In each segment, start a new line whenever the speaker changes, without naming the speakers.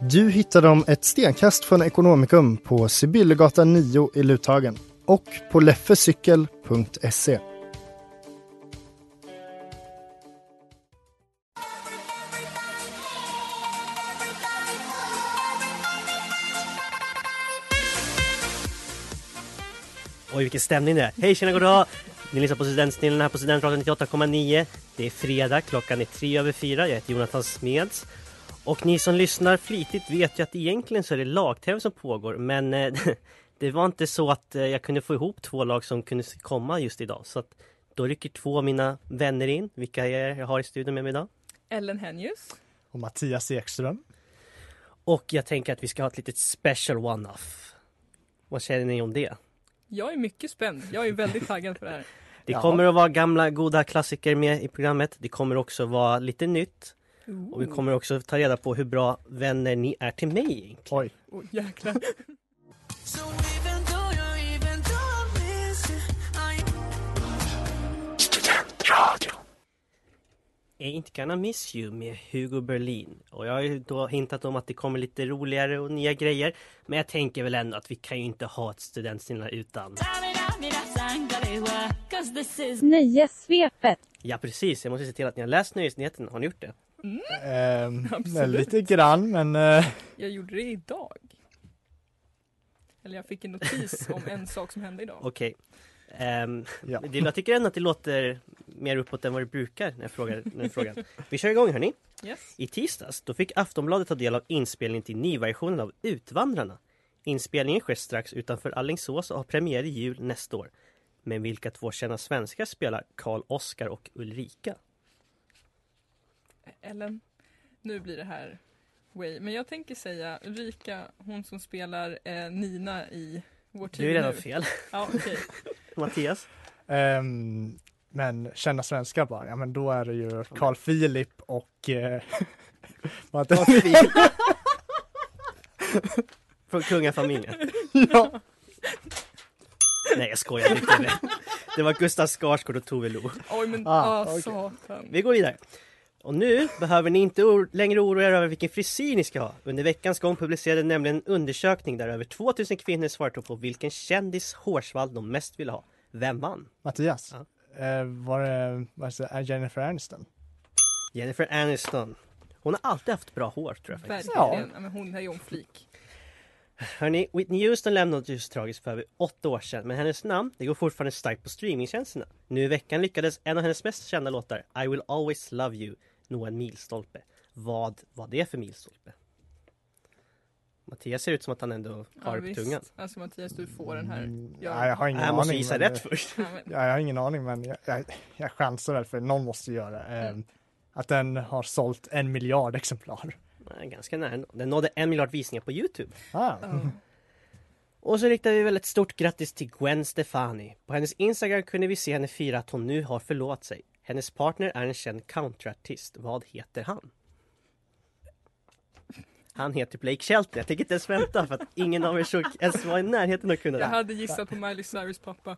Du hittar dem ett stenkast från Ekonomikum på Sibyllegatan 9 i Luthagen och på leffecykel.se.
Oj vilken stämning det är! Hej tjena goddag! Ni lyssnar på Studentsnillen här på Studentradion 98,9. Det är fredag, klockan är tre över fyra. Jag heter Jonathan Smeds. Och ni som lyssnar flitigt vet ju att egentligen så är det lag-tv som pågår men eh, det var inte så att eh, jag kunde få ihop två lag som kunde komma just idag. Så att då rycker två av mina vänner in. Vilka är jag har i studion med mig idag?
Ellen Henjus.
Och Mattias Ekström.
Och jag tänker att vi ska ha ett litet special one-off. Vad känner ni om det?
Jag är mycket spänd. Jag är väldigt taggad för det här.
Det kommer att vara gamla goda klassiker med i programmet. Det kommer också vara lite nytt. Och vi kommer också ta reda på hur bra vänner ni är till mig egentligen.
Oj.
Oh, jäklar.
Ain't gonna miss you med Hugo Berlin. Och jag har ju då hintat om att det kommer lite roligare och nya grejer. Men jag tänker väl ändå att vi kan ju inte ha ett studentsnilla utan.
Nöjessvepet.
Ja precis, jag måste se till att ni har läst nyhetsnyheterna. Har ni gjort det?
Ehm,
Absolut.
lite grann, men eh,
Jag gjorde det idag. Eller jag fick en notis om en sak som hände idag.
Okej. Ehm,
Ja.
det, jag tycker ändå att det låter mer uppåt än vad det brukar när jag frågar den här frågan. Vi kör igång hörni.
Yes.
I tisdags då fick Aftonbladet ta del av inspelningen till nyversionen av Utvandrarna. Inspelningen sker strax utanför Alingsås och har premiär i jul nästa år. Men vilka två kända svenskar spelar Karl Oskar och Ulrika?
Ellen, nu blir det här way. Men jag tänker säga Ulrika, hon som spelar eh, Nina i Vår tid
Du är redan
nu.
fel.
Ja, okej.
Mattias?
ehm, men kända svenskar bara, ja men då är det ju Carl Philip och... Eh, vad heter han?
Från kungafamiljen?
ja,
Nej jag skojar, det är inte det. Det var Gustav Skarsgård och Tove Lo.
Oj men
Ah,
ah,
okej.
satan.
Vi går vidare. Och nu behöver ni inte or- längre oroa er över vilken frisyr ni ska ha. Under veckans gång publicerade nämligen en undersökning där över 2000 kvinnor svarade på vilken kändis hårsvall de mest ville ha. Vem vann?
Mattias.
Ja.
Eh, var det vad heter det, Jennifer Aniston?
Jennifer Aniston. Hon har alltid haft bra hår tror jag faktiskt.
Verkligen.
Ja.
Ja, men hon är ju om flik.
Hörni, Whitney Houston lämnade oss tragiskt för över åtta år sedan men hennes namn det går fortfarande starkt på streamingtjänsterna. Nu i veckan lyckades en av hennes mest kända låtar, I will always love you, nå en milstolpe. Vad var det för milstolpe? Mattias ser ut som att han ändå har det på tungan. Äh,
Alltså Mattias, du får den här.
Ja. Mm, jag har ingen
Jag måste
aning,
gissa
men, eh,
rätt först.
Ja, men,
Ja, jag har ingen aning men jag, jag, jag chansar väl för någon måste göra det.
Mm.
Ehm, Att den har sålt en miljard exemplar.
Nej, Ganska nära. Den nådde en miljard visningar på Youtube.
Ah.
ja.
Och så riktar vi väl ett stort grattis till Gwen Stefani. På hennes Instagram kunde vi se henne fira att hon nu har förlovat sig. Hennes partner är en känd countryartist. Vad heter han? Han heter Blake Shelton. Jag tänker inte ens vänta för att ingen av er såg ens var i närheten av att kunna det.
Jag
här.
hade gissat på Miley Cyrus pappa.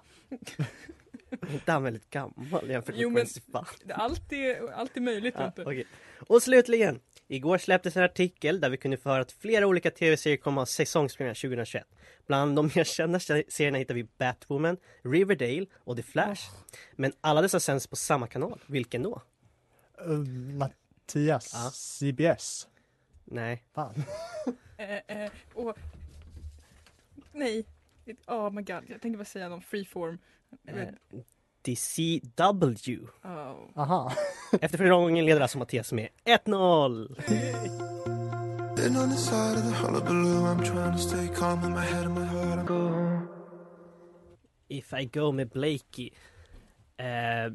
Är inte han väldigt gammal jämfört med
Jo, men-
Gwen Stefani?
Det- Allt är, allt är möjligt
Ja,
Tompe.
Ah, okej. Och slutligen! Igår släpptes en artikel där vi kunde få höra att flera olika tv-serier kommer ha säsongspremiär 2021. Bland de mer kända se- serierna hittar vi Batwoman, Riverdale och The Flash. Men alla dessa sänds på samma kanal. Vilken då?
Ehm, Mattias,
Ja.
CBS.
Nej,
Fan.
Eh, eh, och nej. Oh my god, jag tänkte bara säga någon freeform.
Eh, DCW.
Oh.
Aha.
Efter förra gången leder alltså Mattias med 1-0. If I go med Blakey. Eh,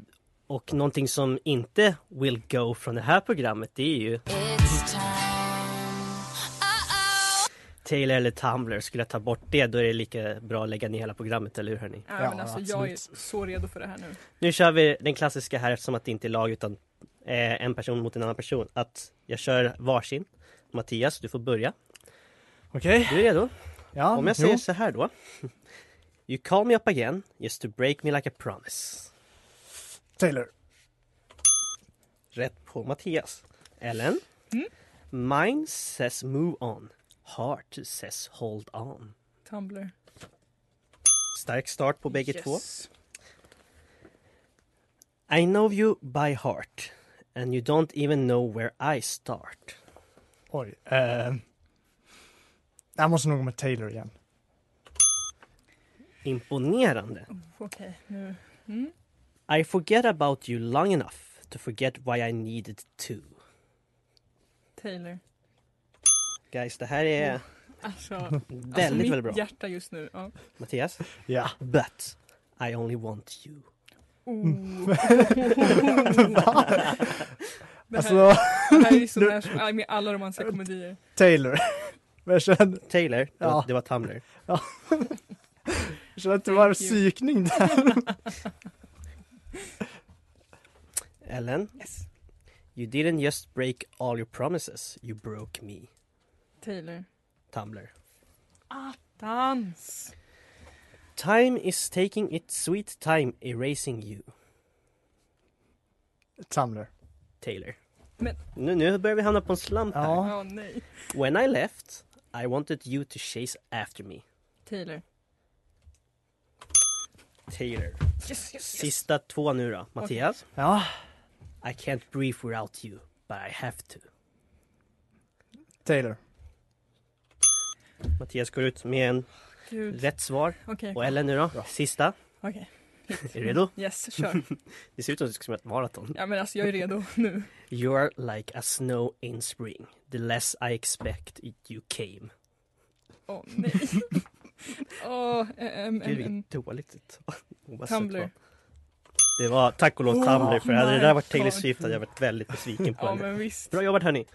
och någonting som inte will go från det här programmet det är ju Taylor eller Tumblr. Skulle jag ta bort det då är det lika bra att lägga ner hela programmet, eller hur hörni?
Ja,
Ja,
men alltså, jag är så redo för det här nu.
Nu kör vi den klassiska här eftersom att det inte är lag utan eh, en person mot en annan person. Att jag kör varsin. Mattias, du får börja.
Okej.
Du är redo?
Ja,
Om jag
jo.
säger så här då. You call me up again just to break me like a promise.
Taylor.
Rätt på Mattias. Ellen. Mine says move on. Heart says hold on.
Tumblr.
Stark start på bägge två. I know you by heart and you don't even know where I start.
Oj. Eh, jag måste nog med Taylor igen.
Imponerande.
Okej, nu.
I forget about you long enough to forget why I needed to.
Taylor.
Guys, det här är
Alltså, alltså
väldigt,
mitt
väldigt bra.
hjärta just nu. Ja.
Mattias?
Ja.
But I only want you.
Mm.
Oh. det, här,
Alltså,
det här är så nära med alla romantiska komedier.
Taylor. Men jag känner,
Taylor, det,
Ja.
var, det var Tumblr.
jag känner att det var en
Thank you.
psykning där.
Ellen? Yes. You didn't just break all your promises, you broke me.
Taylor.
Tumblr.
Dans!
Time is taking its sweet time erasing you.
Tumblr.
Taylor.
Men-
Nu, nu börjar vi hamna på en slump här.
Ja.
Ja, nej.
When I left, I wanted you to chase after me.
Taylor.
Taylor.
Yes, yes, yes.
Sista två nu då. Mattias?
Ja.
I can't breathe without you, but I have to.
Taylor.
Mattias går ut med en
Gud.
rätt svar.
Okej.
Och Ellen nu då? Sista.
Okej.
Är du redo?
Yes, kör.
Det ser ut som att du ska springa ett maraton.
Ja men alltså jag är redo nu.
You're like a snow in spring. The less I expect you came.
Åh nej. Åh, ehm,
Gud,
ehm, ehm.
vilket dåligt. Hon bara
Tumblr.
sökt på. Det var tack och lov
Oh
Tumblr, för hade det
my
där varit Taylor
God.
Swift hade jag varit väldigt besviken på
Ja
henne.
men visst.
Bra jobbat hörni!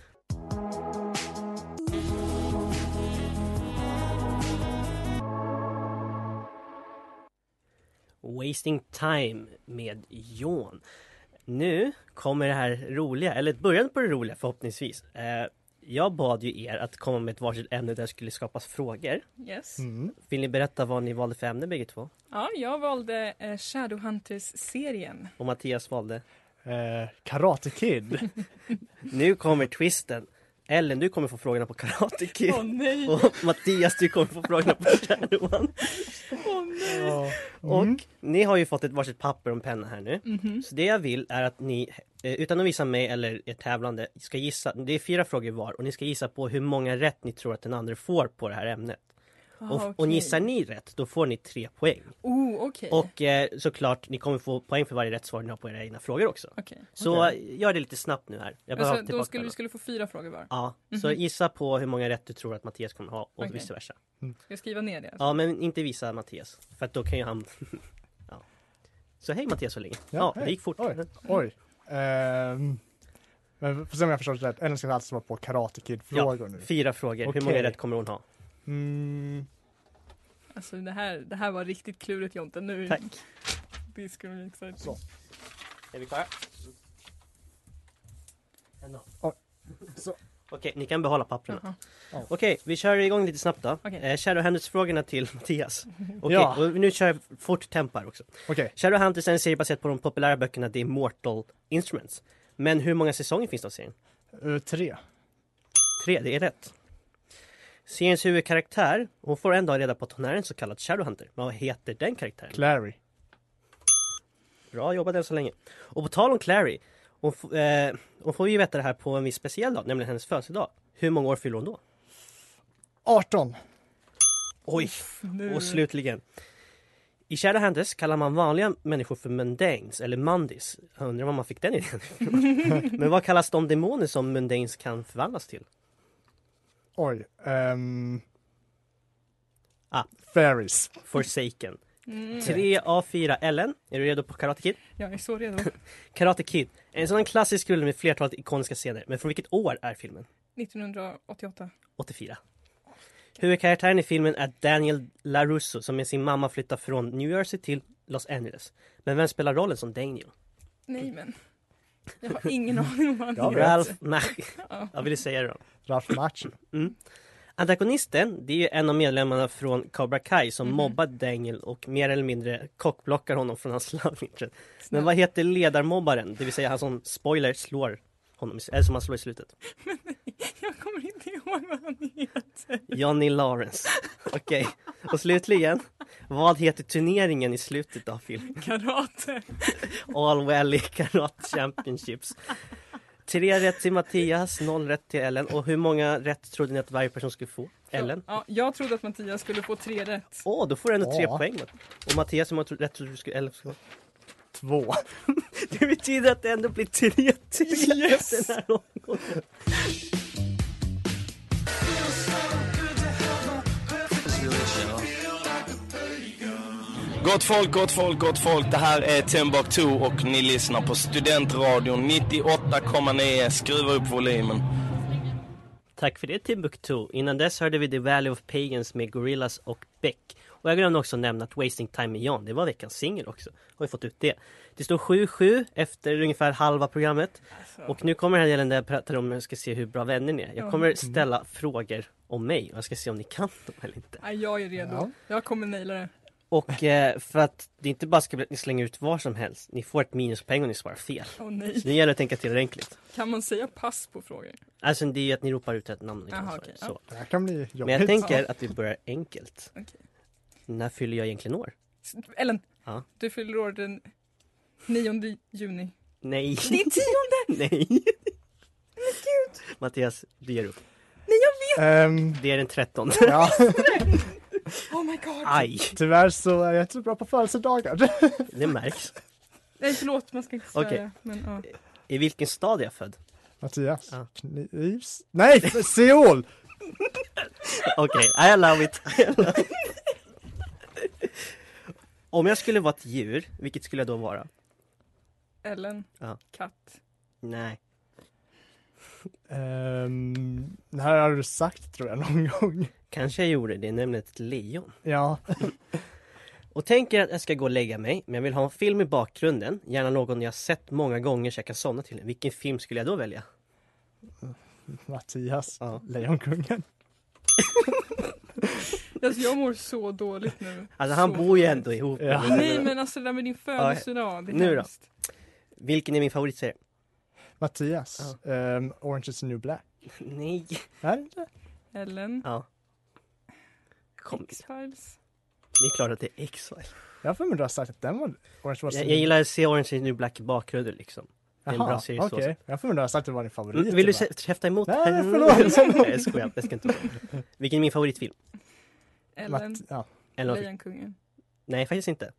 Wasting time med Jon. Nu kommer det här roliga, eller början på det roliga förhoppningsvis. Eh, Jag bad ju er att komma med ett varsitt ämne där det skulle skapas frågor.
Yes.
Mm.
Vill ni berätta vad ni valde för ämne bägge två?
Ja, jag valde eh, Shadowhunters-serien.
Och Mattias valde.
Eh, Karate Kid.
Nu kommer twisten! Ellen, du kommer få frågorna på Karate Kid.
Åh nej! Åh
Och Mattias, du kommer få frågorna på Shadowhunt.
nej!
Ja.
Och ni har ju fått ett varsitt papper och en penna här nu.
Mhm.
Så det jag vill är att ni, eh, utan att visa mig eller er tävlande, ska gissa. Det är fyra frågor var och ni ska gissa på hur många rätt ni tror att den andra får på det här ämnet.
Ah,
och, och
okej.
gissar ni rätt, då får ni tre poäng.
Oh, okej.
Och eh, såklart, ni kommer få poäng för varje rätt svar ni har på era egna frågor också.
Okej.
Så eh, gör det lite snabbt nu här. Jag behöver
Alltså,
alltså,
då
tillbaka
skulle vi
pennan.
skulle få fyra frågor var.
Ja, så gissa på hur många rätt du tror att Mattias kommer ha och
Okej.
vice versa.
Ska jag skriva ner det? alltså?
Ja, men inte visa Mattias, för att då kan ju han... ja. Så hej Mattias så länge. Ja,
hej.
det gick fort.
Oj. Oj. Ehm, men för sen om jag förstått rätt, Ellen ska alltså vara på Karate Kid-frågor nu.
Fyra frågor.
Okej.
Hur många rätt kommer hon ha?
Mm.
Alltså, det, här, det här var riktigt klurigt Jonte. Nu
Tack.
Det liksom- skulle bli exciting.
Så.
Är vi klara? En och-
Oj. Så.
Okej, ni kan behålla papperna.
Jaha.
Ja.
Okej, vi kör igång lite snabbt då.
Okej.
Eh, Shadowhunters-frågorna till Mattias. Okej,
Ja.
och nu kör jag fort tempo här också.
Okej.
Shadowhunters är en serie baserad på de populära böckerna The Immortal Instruments. Men hur många säsonger finns det av serien?
Eh, tre.
Tre, det är rätt. Seriens huvudkaraktär, hon får en dag reda på att hon är en så kallad Shadowhunter. Men vad heter den karaktären?
Clary.
Bra jobbat än så länge. Och på tal om Clary, hon, f- eh, hon får ju veta det här på en viss speciell dag, nämligen hennes födelsedag. Hur många år fyller hon då?
18.
Oj!
Nu.
Och slutligen. I Shadowhunters kallar man vanliga människor för mundanes eller mandis. Jag undrar var man fick den idén ifrån. Men vad kallas de demoner som mundanes kan förvandlas till?
Oj. ehm,
Ah.
Fairies.
Forsaken.
Mm.
Tre av fyra. Ellen, är du redo på Karate Kid?
Jag är så redo.
Karate Kid, en sådan klassisk rulle med flertalet ikoniska scener. Men från vilket år är filmen?
1988.
84. Huvudkaraktären i filmen är Daniel LaRusso som med sin mamma flyttar från New Jersey till Los Angeles. Men vem spelar rollen som Daniel?
Nej men. Jag har ingen aning om vad
Jag
han
vet.
Ralph Nach.
Ja.
Jag ville säga det då.
Ralph Macchio.
Antagonisten, det är ju en av medlemmarna från Cobra Kai som
Mhm.
mobbar Daniel och mer eller mindre kockblockar honom från hans love interest. Men
Snälla.
vad heter ledarmobbaren? Det vill säga han som, spoiler, slår honom, i- eller som han slår i slutet.
Jag kommer inte ihåg vad han heter.
Johnny Lawrence. Okej. Och slutligen, vad heter turneringen i slutet av filmen?
Karate.
All Valley Karate Championships. Tre rätt till Mattias, noll rätt till Ellen. Och hur många rätt trodde ni att varje person skulle få? Ellen?
Ja, jag trodde att Mattias skulle få tre rätt.
Åh, då får du ändå tre
Ja.
poäng. Och Mattias, hur många tro- rätt trodde du skulle... Eller, skulle-
Två.
det betyder att det ändå blir tre till yes. efter den här omgången.
Gott folk, gott folk, gott folk. Det här är Timbuktu och ni lyssnar på Studentradion 98,9. Skruva upp volymen.
Tack för det Timbuktu. Innan dess hörde vi The Valley of Pagans med Gorillaz och Beck. Och jag glömde också nämna att Wasting Time med Jan, det var veckans singel också. Har vi fått ut det. Det står 7-7 efter ungefär halva programmet. Och nu kommer den här delen där jag pratar om hur jag ska se hur bra vänner ni är. Jag
Mm.
kommer ställa frågor om mig och jag ska se om ni kan dem eller inte.
Nej, jag är redo.
Ja.
Jag kommer naila det.
Och eh, för att det inte bara ska bli att ni slänger ut var som helst. Ni får ett minuspoäng om ni svarar fel.
Åh
Så
nej.
det gäller att tänka till ordentligt.
Kan man säga pass på frågor?
Alltså det är ju att ni ropar ut ett namn. om ni kan
Jaha,
svara.
okej, ja.
Så.
Det här kan bli jobbigt.
Men jag tänker att vi börjar enkelt.
Okej.
När fyller jag egentligen år?
S- Ellen,
Ja.
du fyller år den 9 juni.
Nej. Det är tionde! Nej. Men gud. Mattias, du ger upp.
Ehm,
Det är den trettonde.
ja,
Oh my god!
Aj,
tyvärr så är jag inte så bra på födelsedagar.
det märks.
Nej förlåt, man ska inte
Okej.
svära. Men, ja.
I vilken stad är jag född?
Mattias.
Ja.
Knivs... Nej! Seoul!
Okej, I allow it. I allow it. Om jag skulle vara ett djur, vilket skulle jag då vara?
Ellen,
Ja.
katt.
Nej.
Ehm, det här har du sagt tror jag någon gång.
Kanske jag gjorde det, nämligen ett lejon.
Ja.
Och tänker att jag ska gå och lägga mig, men jag vill ha en film i bakgrunden. Gärna någon jag sett många gånger så jag kan somna till den. Vilken film skulle jag då välja?
Mattias.
Ja.
Lejonkungen.
Alltså, jag mår så dåligt nu.
Alltså han
så
bor ju
dåligt.
ändå ihop.
Ja.
med mig.
Nej men alltså det där med din födelsedag, det är
Nu då?
hemskt.
Vilken är min favoritserie?
Mattias. ehm, Orange is the new black.
Nej.
Är det inte?
Ellen,
Ja. Kom.
X-Files.
Det är klart att det är X-Files.
Jag har för mig att du har sagt att den var Orange was
Jag, jag gillar att se Orange is the New Black i bakgrunden liksom. Det är en bra serie så.
Okej, jag har för mig att du har sagt att det var din favorit.
Mm, Vill du
va?
se- käfta emot?
Nej, förlåt.
Nej, jag skojar. Jag ska inte. Vilken är min favoritfilm?
Ellen,
Matt- ja.
Eller något-
Lejonkungen.
Nej, faktiskt inte.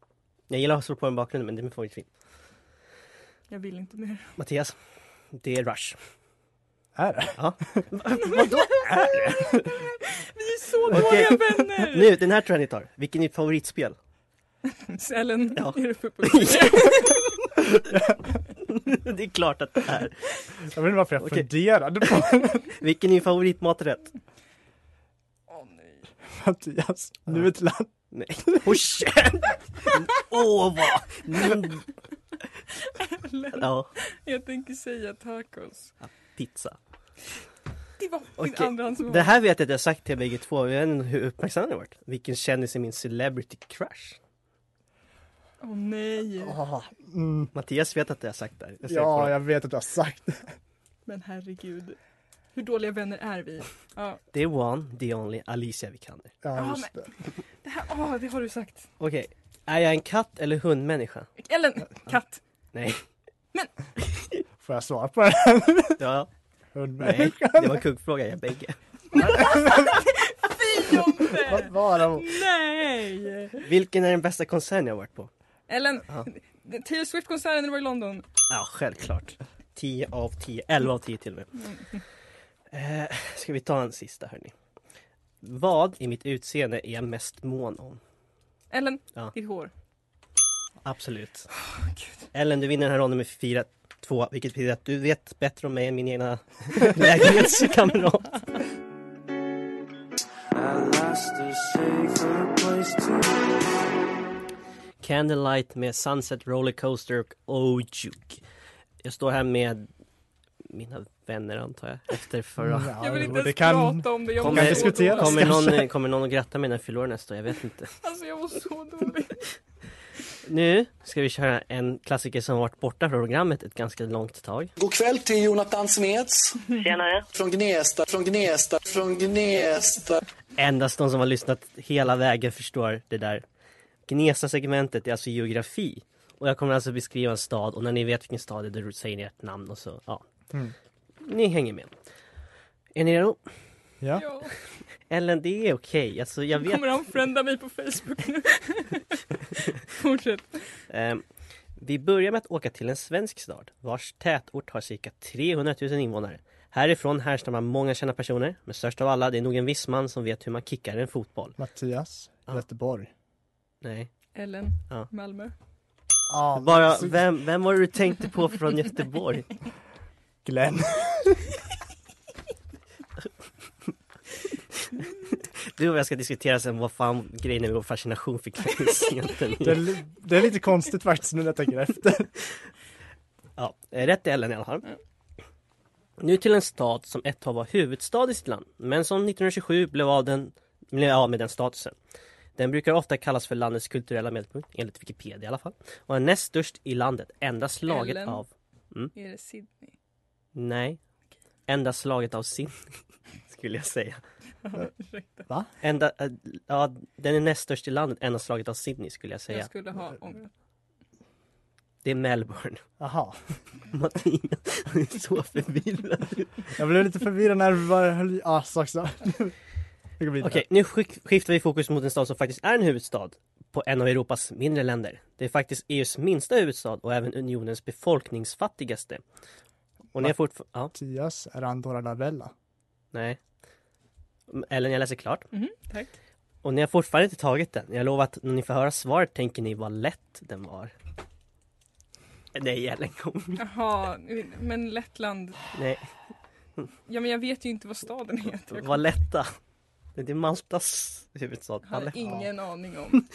Jag gillar att ha sol på i bakgrunden, men det är min favoritfilm.
Jag vill inte mer.
Mattias, det är Rush.
Är det?
Vadå?
Vi är så
Okej.
dåliga vänner!
Nu, den här tror jag ni tar. Vilken är ditt favoritspel?
Ellen,
Ja.
är du för på
det är klart att det är.
Jag vet inte varför jag
Okej.
funderade på
Vilken är din favoritmaträtt?
Åh nej.
Mattias. Nu ett land.
Nej. Håll käften! Åh vad! Mm,
Ellen,
Ja,
jag tänker säga tacos.
pizza.
Det var min
Okej.
andrahandsval.
Det här vet jag att jag har sagt till bägge två, men jag vet inte hur uppmärksam ni har varit. Vilken kändis är min celebrity crush?
Åh nej.
Ah, mm.
Mattias vet att jag har sagt det här. Jag ser på
Ja,
dig.
jag vet att du har sagt det.
Men herregud. Hur dåliga vänner är vi? Ja,
Det är one, the only, Alicia Vikander.
Ja,
Ja,
just det.
det, här, åh, det har du sagt.
Okej, är jag en katt eller hundmänniska?
Ellen, katt.
Nej.
Får jag svara på det?
Ja,
Hundmänniska.
nej. Det var en kuggfråga, jag är bägge.
Fy om
Vad var det?
Nej!
Vilken är den bästa konserten jag varit på?
Ellen,
Ja.
Taylor Swift-konserten när du var i London.
Ja, självklart. 10 av 10, 11 av 10 till och med. Eh, ska vi ta en sista hörni? Vad i mitt utseende är jag mest mån om?
Ellen,
Ja.
ditt hår.
Absolut. Ellen, du vinner den här ronden med 4-2, vilket betyder att du vet bättre om mig än min egna lägenhetskamrat. Candlelight med Sunset Rollercoaster och Ojuk. Jag står här med mina vänner antar jag, efter förra
Ja,
jag vill inte
det
ens
kan-
prata om det. Jag
Kommer-
mår
kan
så
diskuteras.
dåligt.
Kommer någon, kommer någon att gratta mig när jag fyller år nästa år? Jag vet inte.
Alltså jag var så dålig.
Nu ska vi köra en klassiker som har varit borta från programmet ett ganska långt tag.
God kväll till Jonathan Smeds.
Tjenare.
Från Gnesta, från Gnesta, från Gnesta.
Endast de som har lyssnat hela vägen förstår det där. Gnesta-segmentet är alltså geografi. Och jag kommer alltså beskriva en stad och när ni vet vilken stad det är då säger ni ert namn och så, ja.
Mm.
Ni hänger med. Är ni redo?
Ja.
Ja.
Ellen, det är okej. Alltså jag vet
Kommer han frända mig på Facebook nu? Fortsätt.
Ehm, vi börjar med att åka till en svensk stad vars tätort har cirka 300 000 invånare. Härifrån härstammar många kända personer, men störst av alla det är nog en viss man som vet hur man kickar en fotboll.
Mattias,
Ja.
Göteborg.
Nej.
Ellen,
Ja.
Malmö.
Ja,
Bara,
så-
vem, vem var det du tänkte på från Göteborg?
Glenn.
Du och jag ska diskutera sen vad fan grejen är med vår fascination för Keynes
Det är,
egentligen.
li- det är lite konstigt faktiskt nu när jag tänker efter.
Ja, eh, rätt är Ellen i alla fall. Nu till en stad som ett tag var huvudstad i sitt land, men som 1927 blev av, den, blev av med den statusen. Den brukar ofta kallas för landets kulturella medelpunkt, enligt Wikipedia i alla fall. Och är näst störst i landet, endast slaget
Ellen.
av...
Är det Sydney?
Nej. Endast slaget av sin, skulle jag säga.
Ursäkta.
Enda, eh, ja, den är näst störst i landet, endast slaget av Sydney skulle jag säga.
Jag skulle ha ångest.
Det är Melbourne.
Aha.
Mattias, du är så förvirrad.
Jag blev lite förvirrad när du bara höll... Ja, sak samma. Vi går vidare.
Okej, nu skick- skiftar vi fokus mot en stad som faktiskt är en huvudstad på en av Europas mindre länder. Det är faktiskt EUs minsta huvudstad och även unionens befolkningsfattigaste. Och ni har fortfarande... Ja,
Mattias, är det Andorra la Vella?
nej. Mm, Ellen, jag läser klart.
Mhm, tack.
Och ni har fortfarande inte tagit den. Jag lovar att när ni får höra svaret tänker ni vad lätt den var. Nej, Ellen, kom.
Jaha, men Lettland.
Nej,
Ja men jag vet ju inte vad staden heter. Jag
vad lätta. Det är Maltas huvudstad.
hade
Valletta.
ingen aning om.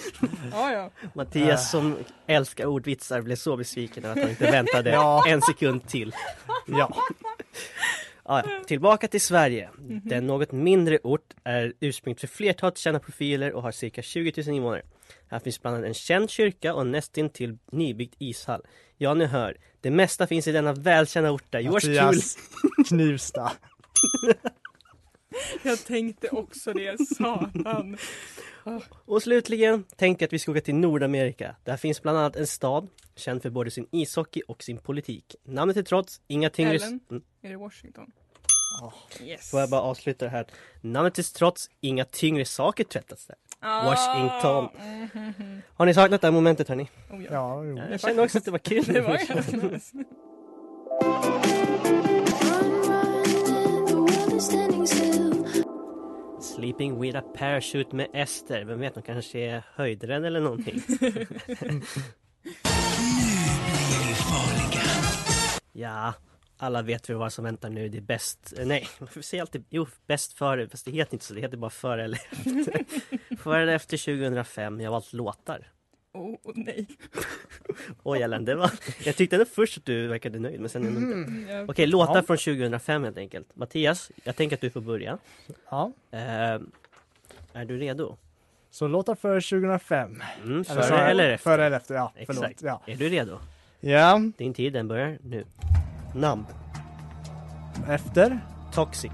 Ja, ja.
Äh.
Mattias som älskar ordvitsar blev så besviken över att han inte väntade
Ja.
en sekund till.
Ja.
Ja, ja. tillbaka till Sverige.
Mhm.
Den något mindre ort är ursprung till flertalet kända profiler och har cirka 20 000 invånare. Här finns bland annat en känd kyrka och en nästintill nybyggd ishall. Ja, ni hör. Det mesta finns i denna välkända ort där George Kul...
Mattias Knivsta.
Jag tänkte också det. Satan.
Och slutligen tänkte jag att vi ska åka till Nordamerika. Där finns bland annat en stad känd för både sin ishockey och sin politik. Namnet till trots, inga tyngre...
Ellen?
Mm.
Är det Washington? Yes.
Får jag bara avsluta det här? Namnet till trots, inga tyngre saker tvättas där.
Ah.
Washington.
Mhm, mhm.
Har ni saknat det här momentet hörni?
Oh, ja.
Ja, jo.
Jag kände också att det var kul.
Det var ganska nice.
Sleeping with a parachute med Ester. Vem vet, hon kanske är höjdrädd eller någonting. ja, alla vet väl vad som väntar nu. Det är bäst... eh, Nej, varför säger jag alltid... Jo, bäst före. Fast det heter inte så. Det heter bara före eller efter. före eller efter 2005. Jag har valt låtar.
Oh, oh, nej.
Oj, Ellen, det var... Jag tyckte ändå först att du verkade nöjd, men sen ändå inte.
Jag,
Okej, låtar
Mm. Ja.
från 2005 helt enkelt. Mattias, jag tänker att du får börja.
Ja.
Eh, är du redo?
Så låtar för 2005.
Mm, före
så-
eller efter?
Före eller efter, ja.
Exakt.
Förlåt. Ja.
Är du redo?
ja.
Din tid den börjar nu. Namn.
Efter.
Toxic.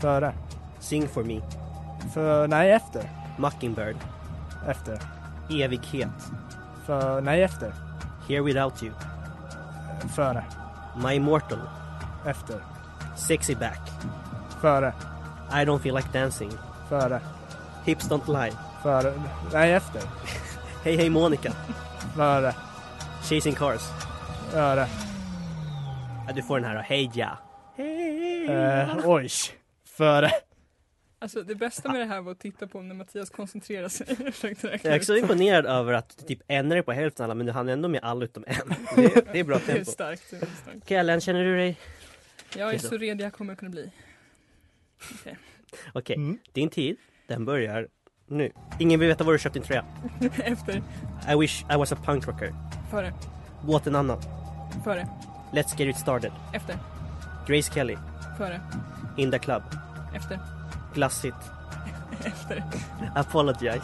Före.
Sing for me.
För, nej, efter.
Mockingbird.
Efter.
Evighet.
För, nej, efter.
Here without you.
Före.
My immortal.
Efter.
Sexy back.
Före.
I don't feel like dancing.
Före.
Hips Don't Lie.
För... Nej, efter.
Hej Hej Monica.
Vad är det?
Chasing Cars.
Vad är det?
Ja, du får den här då. Hej ja.
Eh, oj. För...
Alltså det bästa med det här var att titta på när Mattias koncentrerade sig. Jag försökte räkna
Jag är
ut.
också imponerad över att du typ en är på hälften alla, men du hann ändå med alla utom en. Det är, det är bra
Det är
tempo.
starkt. Det är starkt.
Okej Ellen, känner du dig?
Jag är
Okej
så redig jag kommer kunna bli.
Okej, din tid, den börjar nu. Ingen vill veta var du köpt din tröja.
Efter,
I wish I was a punk rocker.
före,
Åt en annan.
före,
Let's get it started.
efter,
Grace Kelly.
före,
In the club.
efter,
Glassigt.
efter,
Apologize.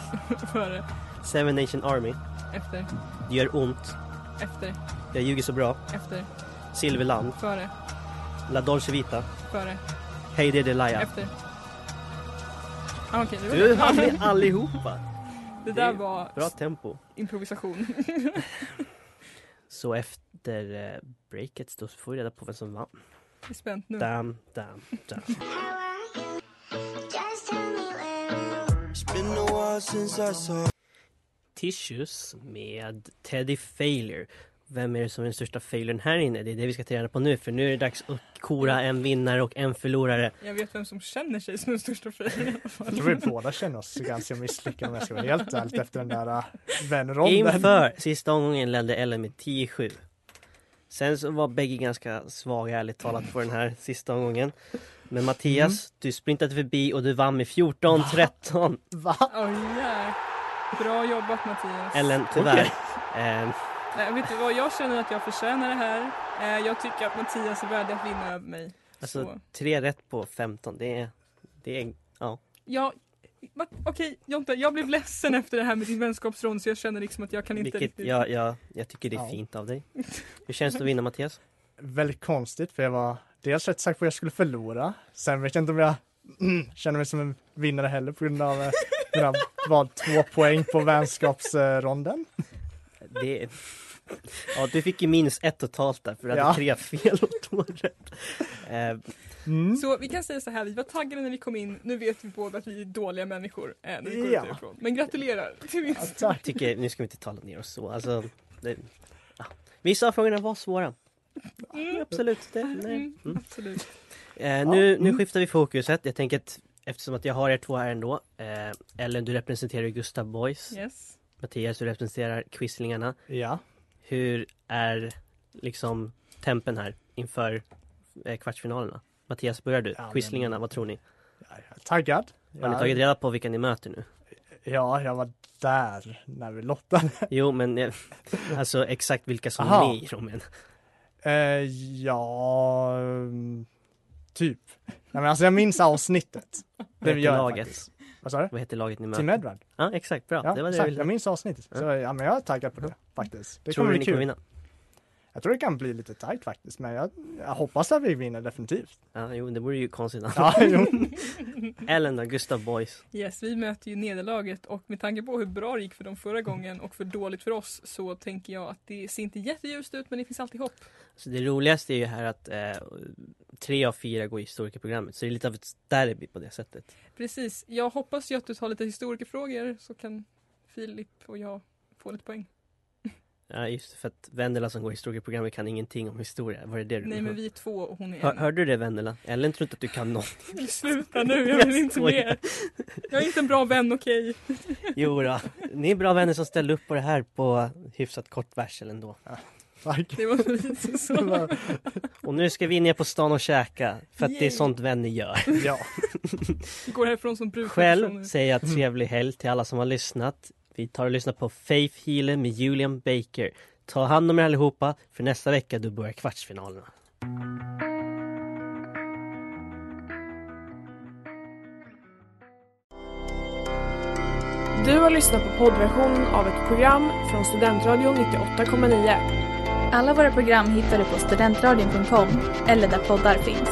före,
Seven Nation Army.
efter,
Det gör ont.
efter,
Jag ljuger så bra.
efter,
Silverland.
före,
La Dolce Vita.
före,
Hey There Delia.
efter. Ah, okej, det var
Du
det.
hann med allihopa.
Det där var
Bra tempo.
improvisation.
Så efter eh, breaket då får vi reda på vem som vann.
Jag är spänt nu.
Damn, damn, damn. Tissues med Teddy Failure. Vem är det som är den största failuren här inne? Det är det vi ska ta reda på nu för nu är det dags att kora en vinnare och en förlorare.
Jag vet vem som känner sig som den största fejlen i alla
Jag tror vi
fall.
båda känner oss ganska misslyckade om jag ska vara helt ärlig efter den där äh, vänronden.
Inför sista omgången ledde Ellen med 10-7. Sen så var bägge ganska svaga ärligt talat på den här sista omgången. Men Mattias, du sprintade förbi och du vann med 14-13.
Va?
Oh, yeah. Bra jobbat Mattias.
Ellen, tyvärr. ehm,
Nej, vet du vad, jag känner att jag förtjänar det här. Eh, jag tycker att Mattias är värdig att vinna över mig.
alltså,
Så.
tre rätt på 15, det är... Det är ja.
Ja, va- okej Jonte, jag blev ledsen efter det här med din vänskapsrond så jag känner liksom att jag kan inte
Vilket,
riktigt...
ja, ja, jag tycker det är
Ja.
fint av dig. Hur känns det att vinna Mattias?
Väldigt konstigt för jag var dels rätt säker på att jag skulle förlora. Sen vet jag inte om jag mm, känner mig som en vinnare heller på grund av eh, mina var två poäng på vänskapsronden.
Det... Ja, du fick ju minst ett totalt där för du hade
Ja.
tre fel och två rätt. Ehm,
Så vi kan säga så här, vi var taggade när vi kom in, nu vet vi båda att vi är dåliga människor eh, när vi går
Ja.
ut därifrån. Men gratulerar till vinsten.
Jag tycker, nu ska vi inte tala ner oss så. Alltså, det, ja. Vissa av frågorna var svåra.
Mm.
Absolut. Det, nej.
Mm, absolut.
Eh, nu, nu skiftar vi fokuset. Jag tänker att eftersom att jag har er två här ändå. Eh, Ellen, du representerar ju Gustav Boys.
Yes.
Mattias, du representerar Quislingarna.
Ja.
Hur är liksom tempen här inför eh, kvartsfinalerna? Mattias, börjar du?
Ja, men-
Quislingarna, vad tror ni?
Taggad.
Har ni
Ja.
tagit reda på vilka ni möter nu?
Ja, jag var där när vi lottade.
Jo, men eh, alltså exakt vilka som
Aha.
är med i rummen.
Eh, ja, mm, typ. Nej, men alltså jag minns avsnittet. Det
Vad
gör
heter
jag
laget?
faktiskt. Vad sa du?
Vad heter laget ni möter?
Tim Edward.
Ja, exakt. Bra.
Ja,
det var det jag
exakt.
ville.
jag minns avsnittet. Så, ja, men jag är taggad på det faktiskt. Det
Tror
kommer
du
bli
ni kommer
kul.
vinna?
Jag tror det kan bli lite tajt faktiskt, men jag, jag hoppas att vi vinner definitivt.
Ja, jo, det vore ju konstigt annars.
Ja, jo.
Ellen då, Gustav Boys.
Yes, vi möter ju nederlaget och med tanke på hur bra det gick för dem förra gången och för dåligt för oss så tänker jag att det ser inte jätteljust ut men det finns alltid hopp.
Så det roligaste är ju här att eh, tre av fyra går i historikerprogrammet, så det är lite av ett derby på det sättet.
Precis, jag hoppas ju att du tar lite historikerfrågor så kan Filip och jag få lite poäng.
Ja, just det, för att Vendela som går i historikerprogrammet kan ingenting om historia. Var det det du
Nej men vi är två och hon är
Hör,
en.
Hörde du det Vendela? Ellen tror inte att du kan något.
Sluta nu, jag vill inte
skojar.
mer. Jag är inte en bra vän, okej?
Jo då. ni är bra vänner som ställde upp på det här på hyfsat kort varsel ändå.
Tack.
Det var lite så.
Och nu ska vi ner på stan och käka, för att det är
Yay.
sånt vänner gör.
Ja,
Vi går härifrån som brukar
Själv säger jag trevlig helg till alla som har lyssnat. Vi tar och lyssnar på Faith Healer med Julian Baker. Ta hand om er allihopa, för nästa vecka då börjar kvartsfinalerna.
Du har lyssnat på poddversionen av ett program från Studentradion 98,9.
Alla våra program hittar du på studentradion.com eller där poddar finns.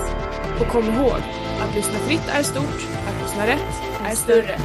Och kom ihåg, att lyssna fritt är stort, att lyssna rätt är större.